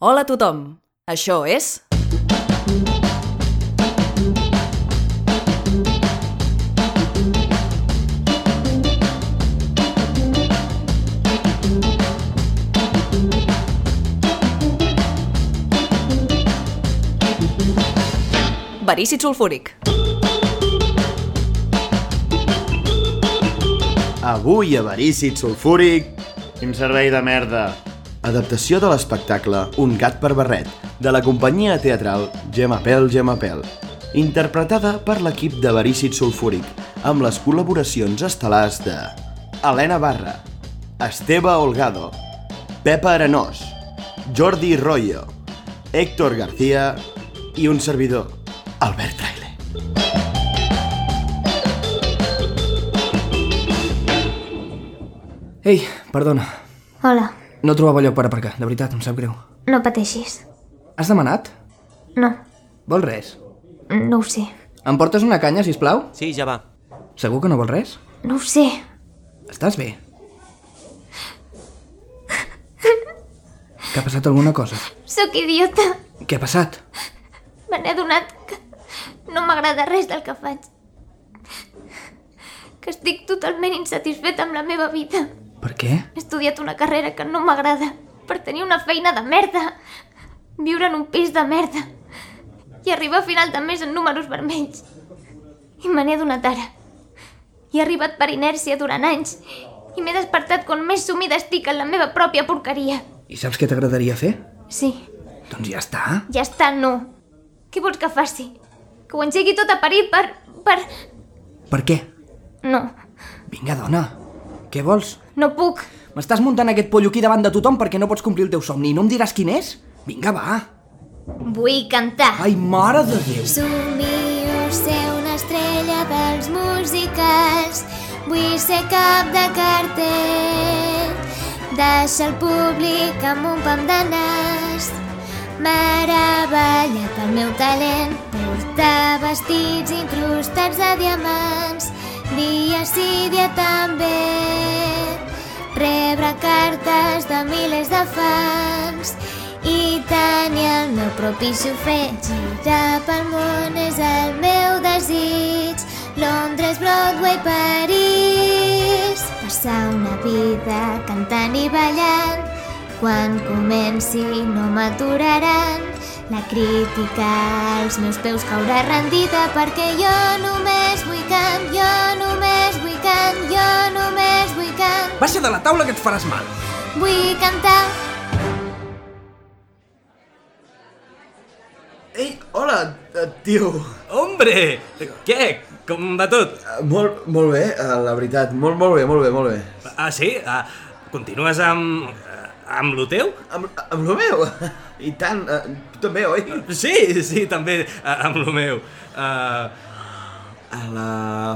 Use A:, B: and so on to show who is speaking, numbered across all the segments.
A: Hola a tothom! Això és... Verícid sulfúric.
B: Avui avarícid sulfúric,
C: Quin servei de merda.
B: adaptació de l'espectacle Un gat per barret, de la companyia teatral Gemma Pèl Gemma Pèl, interpretada per l'equip de Verícid sulfúric, amb les col·laboracions estel·lars de Helena Barra, Esteve Olgado, Pepa Arenós, Jordi Royo, Héctor García i un servidor, Albert Trailer.
D: Ei, perdona.
E: Hola,
D: No trobava lloc per aparcar, de veritat, em sap greu.
E: no pateixis.
D: Has demanat?
E: No,
D: Vols res?
E: no ho sé.
D: Em portes una canya, si plau?
F: Sí, ja va.
D: Segur que no vols res?
E: No ho sé.
D: Estàs bé? Que ha passat alguna cosa?
E: Sóc idiota.
D: Què ha passat?
E: Me n'he adonat que no m'agrada res del que faig. Que estic totalment insatisfeta amb la meva vida.
D: Per què?
E: He estudiat una carrera que no m'agrada per tenir una feina de merda. Viure en un pis de merda. I arribar a final de mes en números vermells. I me n'he adonat ara. He arribat per inèrcia durant anys i m'he despertat quan més sumida estic en la meva pròpia porqueria.
D: I saps què t'agradaria fer?
E: Sí,
D: Doncs ja està.
E: ja està, no. Què vols que faci? Que ho engegui tot a parir per... per...
D: Per què?
E: No,
D: Vinga, dona. Què vols?
E: no puc.
D: M'estàs muntant aquest pollo aquí davant de tothom perquè no pots complir el teu somni i no em diràs quin és? Vinga, va.
E: Vull cantar.
D: Ai, mare de Déu.
G: Somio ser una estrella dels musicals, vull ser cap de cartell. Deixa el públic amb un pam de nas, meravella pel meu talent. Portar vestits incrustats de diamants, dia sí, dia també. Rebre cartes de milers de fans i tenir el meu propi xofret. Girar pel món és el meu desig. Londres, Broadway, París. Passar una vida cantant i ballant. Quan comenci no m'aturaran. La crítica als meus peus caurà rendida perquè jo només vull cant, jo només vull cant, jo només vull cant.
D: Baixa de la taula que et faràs mal.
G: Vull cantar.
B: Ei, hola, eh, tio.
F: Hombre! Què? Com va tot?
B: Eh, Molt, molt bé, eh, la veritat. Molt, molt bé, molt bé, molt bé.
F: Ah, sí? Ah, continues amb... eh, amb lo teu?
B: Amb, amb lo meu? I tant, eh, tu també, oi?
F: Sí, sí, també ah, amb lo meu. Ah,
B: A la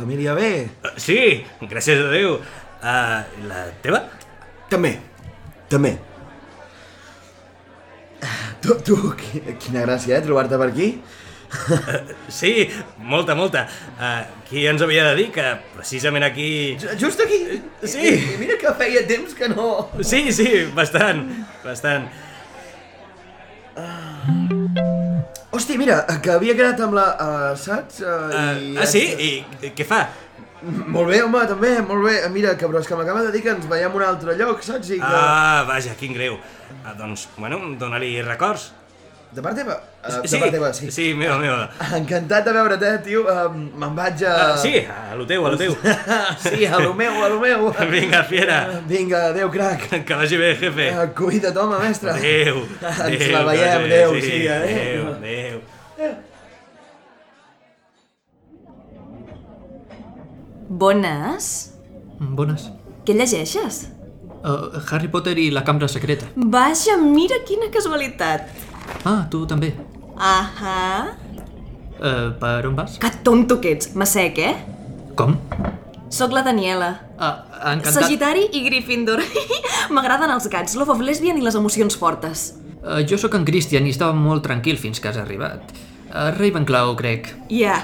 B: família B?
F: eh, sí, gràcies a Déu. Ah, la teva?
B: També, també. Tu, tu, qui- quina gràcia, eh, trobar-te per aquí.
F: Eh, Sí, molta, molta. Ah, qui ens havia de dir que precisament aquí...
B: Ju- Just aquí.
F: Sí.
B: I- i Mira que feia temps que no...
F: Sí, sí, bastant, bastant.
B: Hosti, mira, que havia quedat amb la... Uh, saps?
F: Ah, ah, sí? I, i què fa?
B: Molt bé, home, també, molt bé. Mira, que, però és que m'acaba de dir que ens veiem a un altre lloc, saps? I que...
F: Ah, vaja, quin greu. Ah, doncs, bueno, dona-li records.
B: De part teva? Eh, De part teva, sí.
F: Sí, meva, meva.
B: Encantat de veure't, eh, tio. Eh, Me'n vaig a...
F: Ah, sí, a lo teu, a lo teu.
B: Sí, a lo meu, a lo meu.
F: Vinga, fiera.
B: Vinga, adéu, crac.
F: Que vagi bé, jefe.
B: Eh, Cuida't, home, mestre.
F: Adéu.
B: Ens
F: adéu,
B: la veiem,
F: Roger,
B: adéu,
F: sí,
B: sí, adéu.
F: adéu. Adéu,
A: Bones.
H: Mm, Bones.
A: Què llegeixes?
H: Uh, Harry Potter i la cambra secreta.
A: Vaja, mira quina casualitat.
H: Ah, tu també.
A: Ahà.
H: Uh, per on vas?
A: Que tonto que ets. M'assec, eh?
H: Com?
A: Sóc la Daniela.
H: Ah, encantat.
A: Sagitari i Gryffindor. M'agraden els gats, l'ove of lesbian i les emocions fortes.
H: Uh, jo sóc en Christian i estava molt tranquil fins que has arribat. Uh, Ravenclaw, crec.
A: Ja,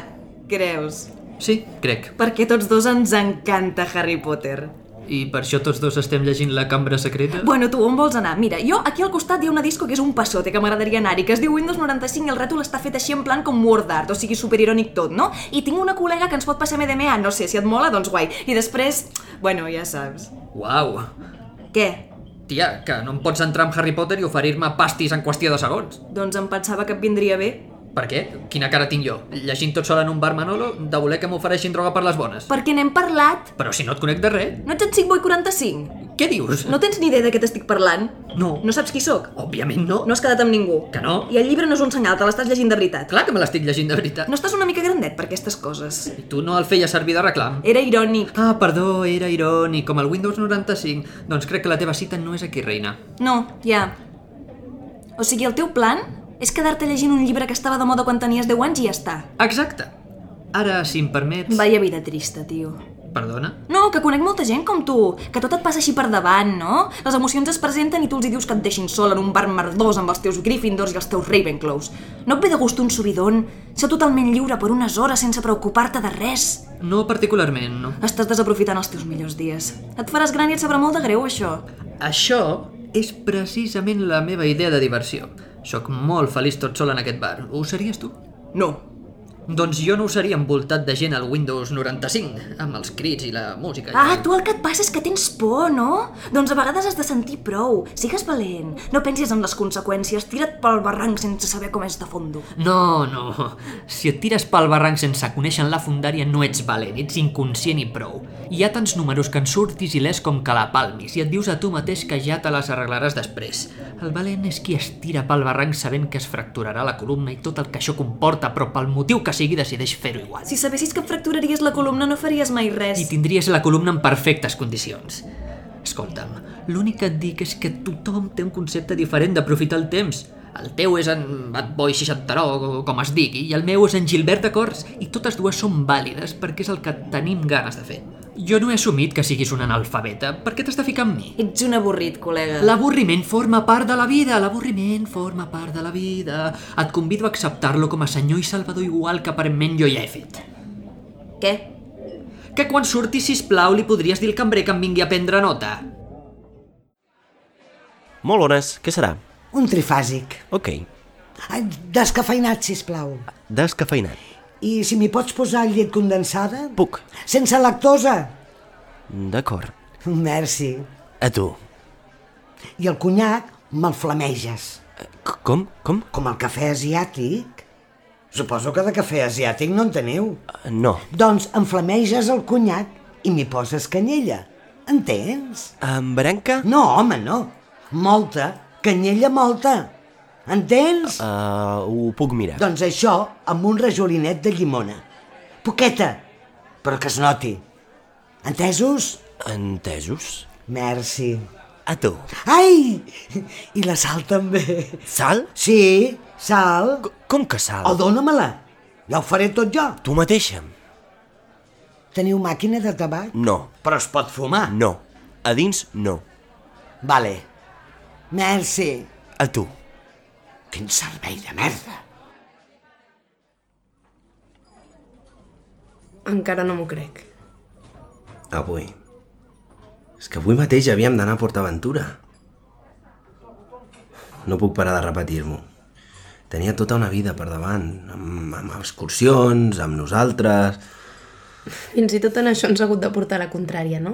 A: creus.
H: Sí, crec.
A: Perquè tots dos ens encanta Harry Potter.
H: I per això tots dos estem llegint La cambra secreta?
A: Bueno, tu, on vols anar? Mira, jo aquí al costat hi ha una disco que és un passote que m'agradaria anar-hi, que es diu Windows 95 i el rètol està fet així en plan com Word Art, o sigui, superirònic tot, no? I tinc una col·lega que ens pot passar MDMA, no sé, si et mola, doncs guai. I després, bueno, ja saps.
H: Uau!
A: Què?
H: Tia, que no em pots entrar amb Harry Potter i oferir-me pastis en qüestió de segons.
A: Doncs em pensava que et vindria bé.
H: Per què? Quina cara tinc jo? Llegint tot sol en un bar Manolo, de voler que m'ofereixin droga per les bones.
A: Perquè n'hem parlat.
H: Però si no et conec de res,
A: No ets en 5 boy 45?
H: què dius?
A: No tens ni idea de què t'estic parlant?
H: No.
A: No saps qui sóc?
H: Òbviament no.
A: No has quedat amb ningú.
H: Que no?
A: I el llibre no és un senyal, te l'estàs llegint de veritat.
H: Clar que me l'estic llegint de veritat.
A: No estàs una mica grandet per aquestes coses.
H: I tu no el feies servir de reclam?
A: Era irònic.
H: Ah, perdó, era irònic, com el Windows 95. Doncs crec que la teva cita no és aquí, reina.
A: No, ja. O sigui, el teu plan és quedar-te llegint un llibre que estava de moda quan tenies 10 anys i ja està.
H: Exacte. Ara, si em permets...
A: Vaya vida trista, tio.
H: Perdona?
A: No, que conec molta gent com tu, que tot et passa així per davant, no? Les emocions es presenten i tu els hi dius que et deixin sol en un bar merdós amb els teus Gryffindors i els teus Ravenclaws. No et ve de gust un subidon? Ser totalment lliure per unes hores sense preocupar-te de res?
H: No particularment, no.
A: Estàs desaprofitant els teus millors dies. Et faràs gran i et sabrà molt de greu, això.
H: Això és precisament la meva idea de diversió. Sóc molt feliç tot sol en aquest bar. Ho series tu?
A: No.
H: Doncs jo no ho seria envoltat de gent al Windows 95, amb els crits i la música. i
A: Ah,
H: el-
A: tu el que et passa és que tens por, no? Doncs a vegades has de sentir prou. Sigues valent. No pensis en les conseqüències. Tira't pel barranc sense saber com és de fondo.
H: No, no. Si et tires pel barranc sense conèixer la fundària no ets valent, ets inconscient i prou. Hi ha tants números que en surtis i les com que la palmis i et dius a tu mateix que ja te les arreglaràs després. El valent és qui es tira pel barranc sabent que es fracturarà la columna i tot el que això comporta, però pel motiu que sigui decideix fer-ho igual.
A: Si sabessis que et fracturaries la columna no faries mai res.
H: I tindries la columna en perfectes condicions. Escolta'm, l'únic que et dic és que tothom té un concepte diferent d'aprofitar el temps. El teu és en Bad Boy 60 o com es digui, i el meu és en Gilbert de Cors, i totes dues són vàlides perquè és el que tenim ganes de fer. Jo no he assumit que siguis un analfabeta, per què t'has de ficar amb mi?
A: Ets un avorrit, col·lega.
H: L'avorriment forma part de la vida, l'avorriment forma part de la vida. Et convido a acceptar-lo com a senyor i salvador igual que aparentment jo ja he fet
A: Què?
H: que quan surti, sisplau, li podries dir al cambrer que em vingui a prendre nota.
I: Molt bones, què serà?
J: Un trifàsic.
I: Ok,
J: Ai, Descafeinat, si plau.
I: descafeinat.
J: I si m'hi pots posar llet condensada?
I: Puc.
J: Sense lactosa?
I: D'acord.
J: Merci.
I: A tu.
J: I el conyac me'l flameges.
I: C com? Com?
J: Com el cafè asiàtic. Suposo que de cafè asiàtic no en teniu.
I: Eh, No.
J: Doncs em flameges el conyac i m'hi poses canyella. Entens?
I: Amb branca?
J: No, home, no. Molta. Canyella molta. Entens?
I: Uh, ho puc mirar.
J: Doncs això amb un rajolinet de llimona. Poqueta, però que es noti. Entesos?
I: Entesos?
J: Merci.
I: A tu.
J: Ai! I la sal també.
I: Sal?
J: Sí, sal.
I: C com que
J: O
I: sal?
J: dóna-me-la. Ja ho faré tot jo.
I: Tu mateixa?
J: Teniu màquina de tabac?
I: No.
J: Però es pot fumar.
I: No. A dins, no.
J: Vale. Merci.
I: A tu.
J: Quin servei de merda.
K: Encara no m'ho crec.
L: Avui. És que avui mateix havíem d'anar a PortAventura. No puc parar de repetir-m'ho. Tenia tota una vida per davant, amb, amb excursions, amb nosaltres...
K: Fins i tot en això ens ha hagut de portar la contrària, no?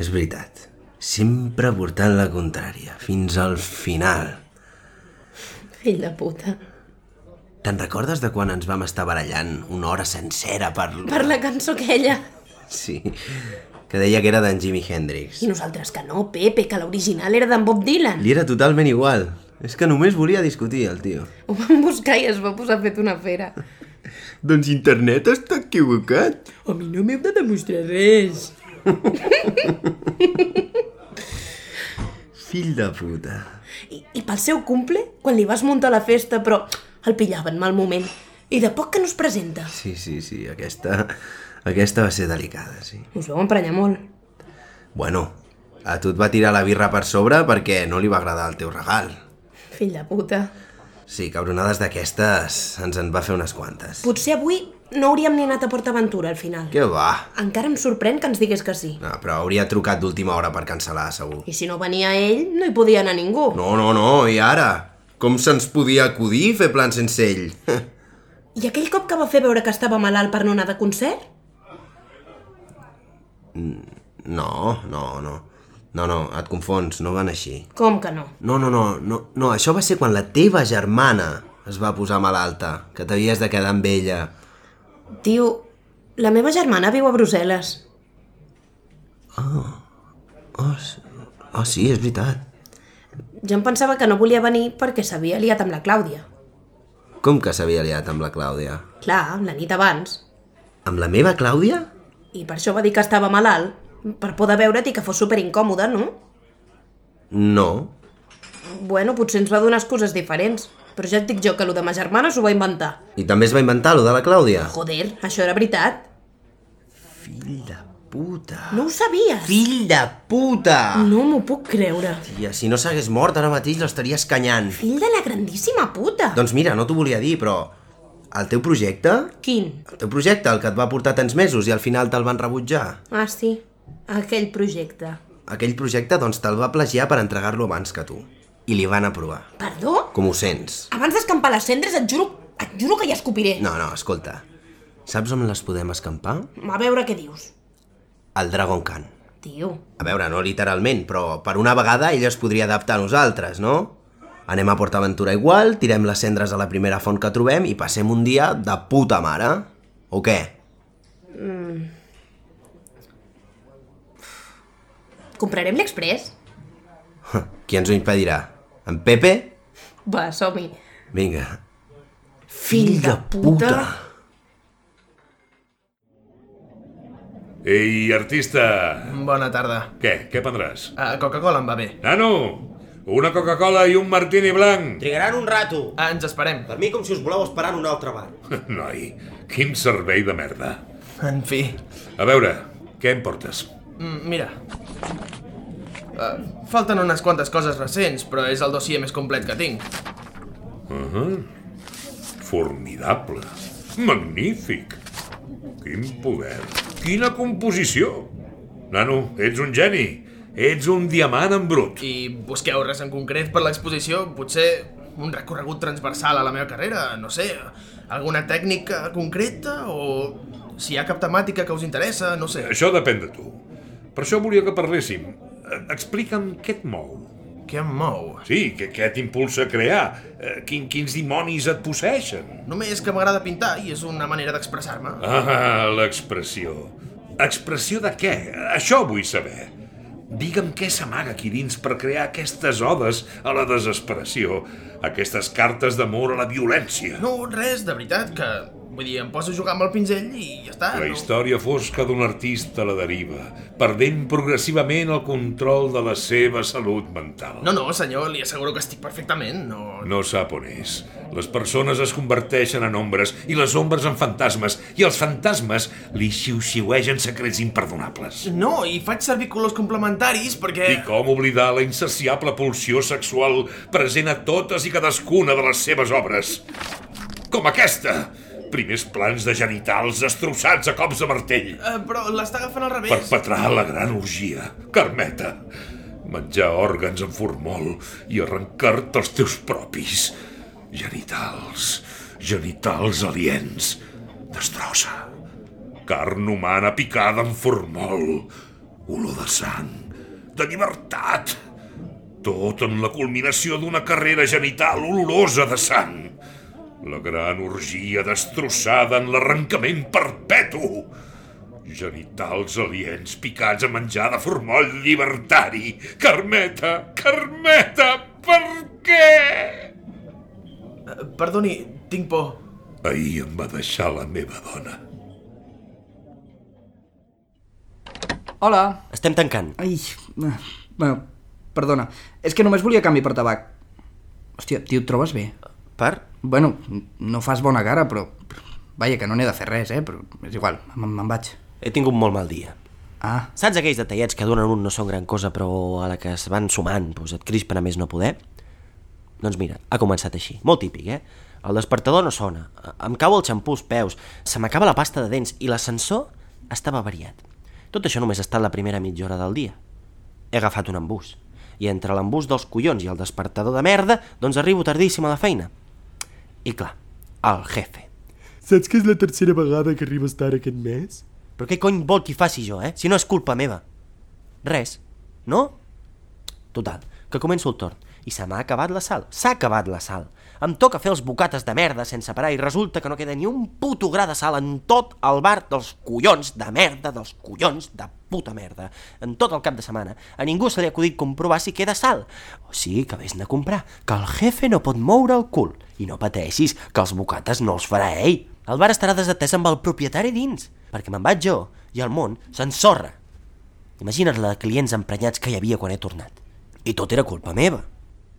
L: És veritat, sempre portant la contrària, fins al final.
K: Fill de puta.
L: Te'n recordes de quan ens vam estar barallant una hora sencera per...
K: Per la cançó aquella.
L: Sí, que deia que era d'en Jimi Hendrix.
K: I nosaltres que no, Pepe, que l'original era d'en Bob Dylan.
L: Li era totalment igual. És que només volia discutir, el tio.
K: Ho vam buscar i es va posar fet una fera.
L: Doncs internet està equivocat.
K: A mi no m'heu de demostrar res.
L: Fill de puta.
K: I, I pel seu cumple, quan li vas muntar la festa, però el pillaven mal moment. I de poc que no es presenta.
L: Sí, sí, sí, aquesta... Aquesta va ser delicada, sí.
K: Us vau emprenyar molt.
L: Bueno, a tu et va tirar la birra per sobre perquè no li va agradar el teu regal.
K: Fill de puta.
L: Sí, cabronades d'aquestes ens en va fer unes quantes.
K: Potser avui No hauríem ni anat a PortAventura, al final.
L: Què va?
K: Encara em sorprèn que ens digués que sí.
L: No, però hauria trucat d'última hora per cancel·lar, segur.
K: I si no venia ell, no hi podia anar ningú.
L: No, no, no, i ara? Com se'ns podia acudir fer plans sense ell?
K: I aquell cop que va fer veure que estava malalt per no anar de concert?
L: No, no, no. No, no, et confons, no van així.
K: Com que no?
L: No, no, no, no, no, això va ser quan la teva germana es va posar malalta, que t'havies de quedar amb ella.
K: Tio, la meva germana viu a Brussel·les.
L: Ah, oh, s- oh, sí, és veritat.
K: Jo em pensava que no volia venir perquè s'havia liat amb la Clàudia.
L: Com que s'havia liat amb la Clàudia?
K: Clar, la nit abans.
L: Amb la meva Clàudia?
K: I per això va dir que estava malalt, per por de veure't i que fos super incòmode, no?
L: No.
K: Bueno, potser ens va donar excuses diferents, però ja et dic jo que lo de ma germana s'ho va inventar.
L: I també es va inventar lo de la Clàudia?
K: Joder, això era veritat.
L: Fill de puta.
K: No ho sabies?
L: Fill de puta!
K: No m'ho puc creure.
L: Tia, si no s'hagués mort ara mateix l'estaries canyant.
K: Fill de la grandíssima puta.
L: Doncs mira, no t'ho volia dir, però... El teu projecte?
K: Quin?
L: El teu projecte, el que et va portar tants mesos i al final te'l van rebutjar.
K: Ah, sí. Aquell projecte.
L: Aquell projecte, doncs, te'l va plagiar per entregar-lo abans que tu. I li van aprovar.
K: Perdó?
L: Com ho sents?
K: Abans d'escampar les cendres et juro, et juro que ja escopiré.
L: No, no, escolta. Saps on les podem escampar?
K: A veure què dius.
L: Al Dragon Khan.
K: Tio,
L: A veure, no literalment, però per una vegada ell es podria adaptar a nosaltres, no? Anem a PortAventura igual, tirem les cendres a la primera font que trobem i passem un dia de puta mare. O què?
K: Mm. Comprarem l'express?
L: Qui ens ho impedirà? En Pepe?
K: Va, som-hi.
L: Vinga.
K: Fill de
M: Ei, artista!
N: Bona tarda.
M: Què? Què prendràs?
N: Uh, Coca-Cola em va bé.
M: Nano! Una Coca-Cola i un martini blanc!
O: Trigaran un rato.
N: Ah, ens esperem.
O: Per mi, com si us voleu esperar en un altre bar.
M: Noi, quin servei de merda.
N: En fi.
M: A veure, què em portes?
N: Mm, mira. Uh, falten unes quantes coses recents, però és el dossier més complet que tinc.
M: Uh -huh. Formidable. Magnífic. Quin poder. Quina composició. Nano, ets un geni. Ets un diamant en brut.
N: I busqueu res en concret per l'exposició? Potser un recorregut transversal a la meva carrera, no sé, alguna tècnica concreta o si hi ha cap temàtica que us interessa, no sé.
M: Això depèn de tu. Per això volia que parléssim. Eh, Explica'm què et mou.
N: Què em mou?
M: Sí, què, què t'impulsa a crear? Eh, Quin, quins dimonis et posseixen?
N: Només que m'agrada pintar i és una manera d'expressar-me.
M: Ah, l'expressió. Expressió de què? Això vull saber. Digue'm què s'amaga aquí dins per crear aquestes odes a la desesperació, aquestes cartes d'amor a la violència.
N: No, res, de veritat, que... Vull dir, em poso a jugar amb el pinzell i ja està.
M: La història fosca d'un artista a la deriva, perdent progressivament el control de la seva salut mental.
N: No, no, senyor, li asseguro que estic perfectament, no...
M: No sap on és. Les persones es converteixen en ombres i les ombres en fantasmes i els fantasmes li xiu-xiuegen secrets imperdonables.
N: No, i faig servir colors complementaris perquè...
M: I com oblidar la insaciable pulsió sexual present a totes i cadascuna de les seves obres. Com aquesta! Primers plans de genitals destrossats a cops de martell.
N: Eh, però l'està agafant al revés.
M: Perpetrar la gran orgia. Carmeta, menjar òrgans en formol i arrencar-te els teus propis. Genitals, genitals aliens. Destrossa. Carn humana picada en formol. Olor de sang, de llibertat. Tot en la culminació d'una carrera genital olorosa de sang. La gran orgia destrossada en l'arrencament perpetu. Genitals aliens picats a menjar de formoll llibertari. Carmeta, Carmeta, per què?
N: Eh, Perdoni, tinc por.
M: Ahir em va deixar la meva dona.
D: Hola.
I: Estem tancant.
D: Ai, ah, bueno, perdona. És que només volia canvi per tabac. Hòstia, tio, et trobes bé?
I: Per?
D: Bueno, no fas bona cara, però... Vaja, que no n'he de fer res, eh? Però és igual, me'n- me'n vaig.
I: He tingut molt mal dia.
D: Ah.
I: Saps aquells detallets que donen un no són gran cosa, però a la que es van sumant doncs et crispen a més no poder? Doncs mira, ha començat així. Molt típic, eh? El despertador no sona, a- em cau el xampú als peus, se m'acaba la pasta de dents i l'ascensor estava variat. Tot això només ha estat la primera mitja hora del dia. He agafat un embús. I entre l'embús dels collons i el despertador de merda, doncs arribo tardíssim a la feina. I clar, el jefe.
P: Saps que és la tercera vegada que arribes tard aquest mes?
I: Però què cony vol que hi faci jo, eh? Si no és culpa meva. Res. No? Total, que començo el torn. I se m'ha acabat la sal. S'ha acabat la sal. Em toca fer els bocates de merda sense parar i resulta que no queda ni un puto gra de sal en tot el bar dels collons de merda, dels collons de puta merda. En tot el cap de setmana. A ningú se li ha acudit comprovar si queda sal. O sigui que vés-ne a comprar, que el jefe no pot moure el cul. I no pateixis, que els bocates no els farà ell. El bar estarà desatès amb el propietari dins, perquè me'n vaig jo i el món s'ensorra. Imagina't la de clients emprenyats que hi havia quan he tornat. I tot era culpa meva.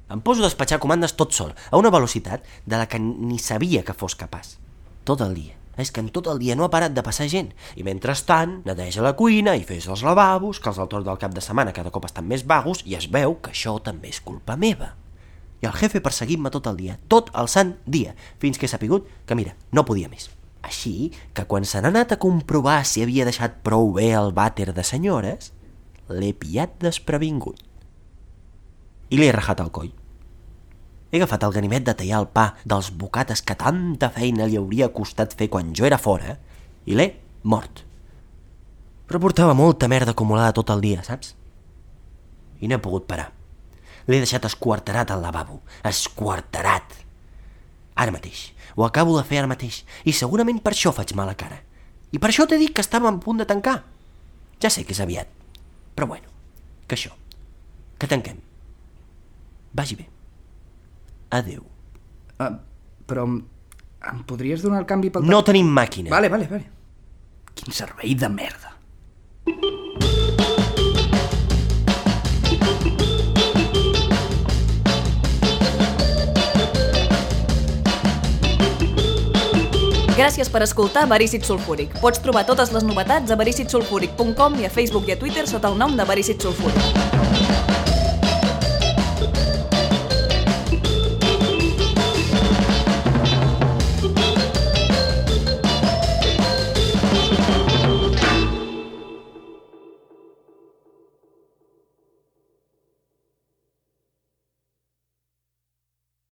I: Em poso a despatxar comandes tot sol, a una velocitat de la que ni sabia que fos capaç. Tot el dia. És que en tot el dia no ha parat de passar gent. I mentrestant, neteja la cuina i fes els lavabos, que els del torn del cap de setmana cada cop estan més vagos i es veu que això també és culpa meva. I el jefe perseguint-me tot el dia, tot el sant dia, fins que he sapigut que, mira, no podia més. Així que quan se n'ha anat a comprovar si havia deixat prou bé el vàter de senyores, l'he pillat desprevingut. I l'he rajat al coll. He agafat el ganivet de tallar el pa dels bocates que tanta feina li hauria costat fer quan jo era fora i l'he mort. Però portava molta merda acumulada tot el dia, saps? I no he pogut parar. L'he deixat esquarterat al lavabo. Esquarterat! Ara mateix. Ho acabo de fer ara mateix. I segurament per això faig mala cara. I per això t'he dit que estava a punt de tancar. Ja sé que és aviat. Però bueno, que això. Que tanquem. Vagi bé. Adeu.
D: Uh, però em, em podries donar el canvi pel...
I: No tenim màquina.
D: Vale, vale, vale. Quin servei de merda.
A: Gràcies per escoltar Verícit Sulfúric. Pots trobar totes les novetats a vericitsulfúric.com i a Facebook i a Twitter sota el nom de Verícit Sulfúric.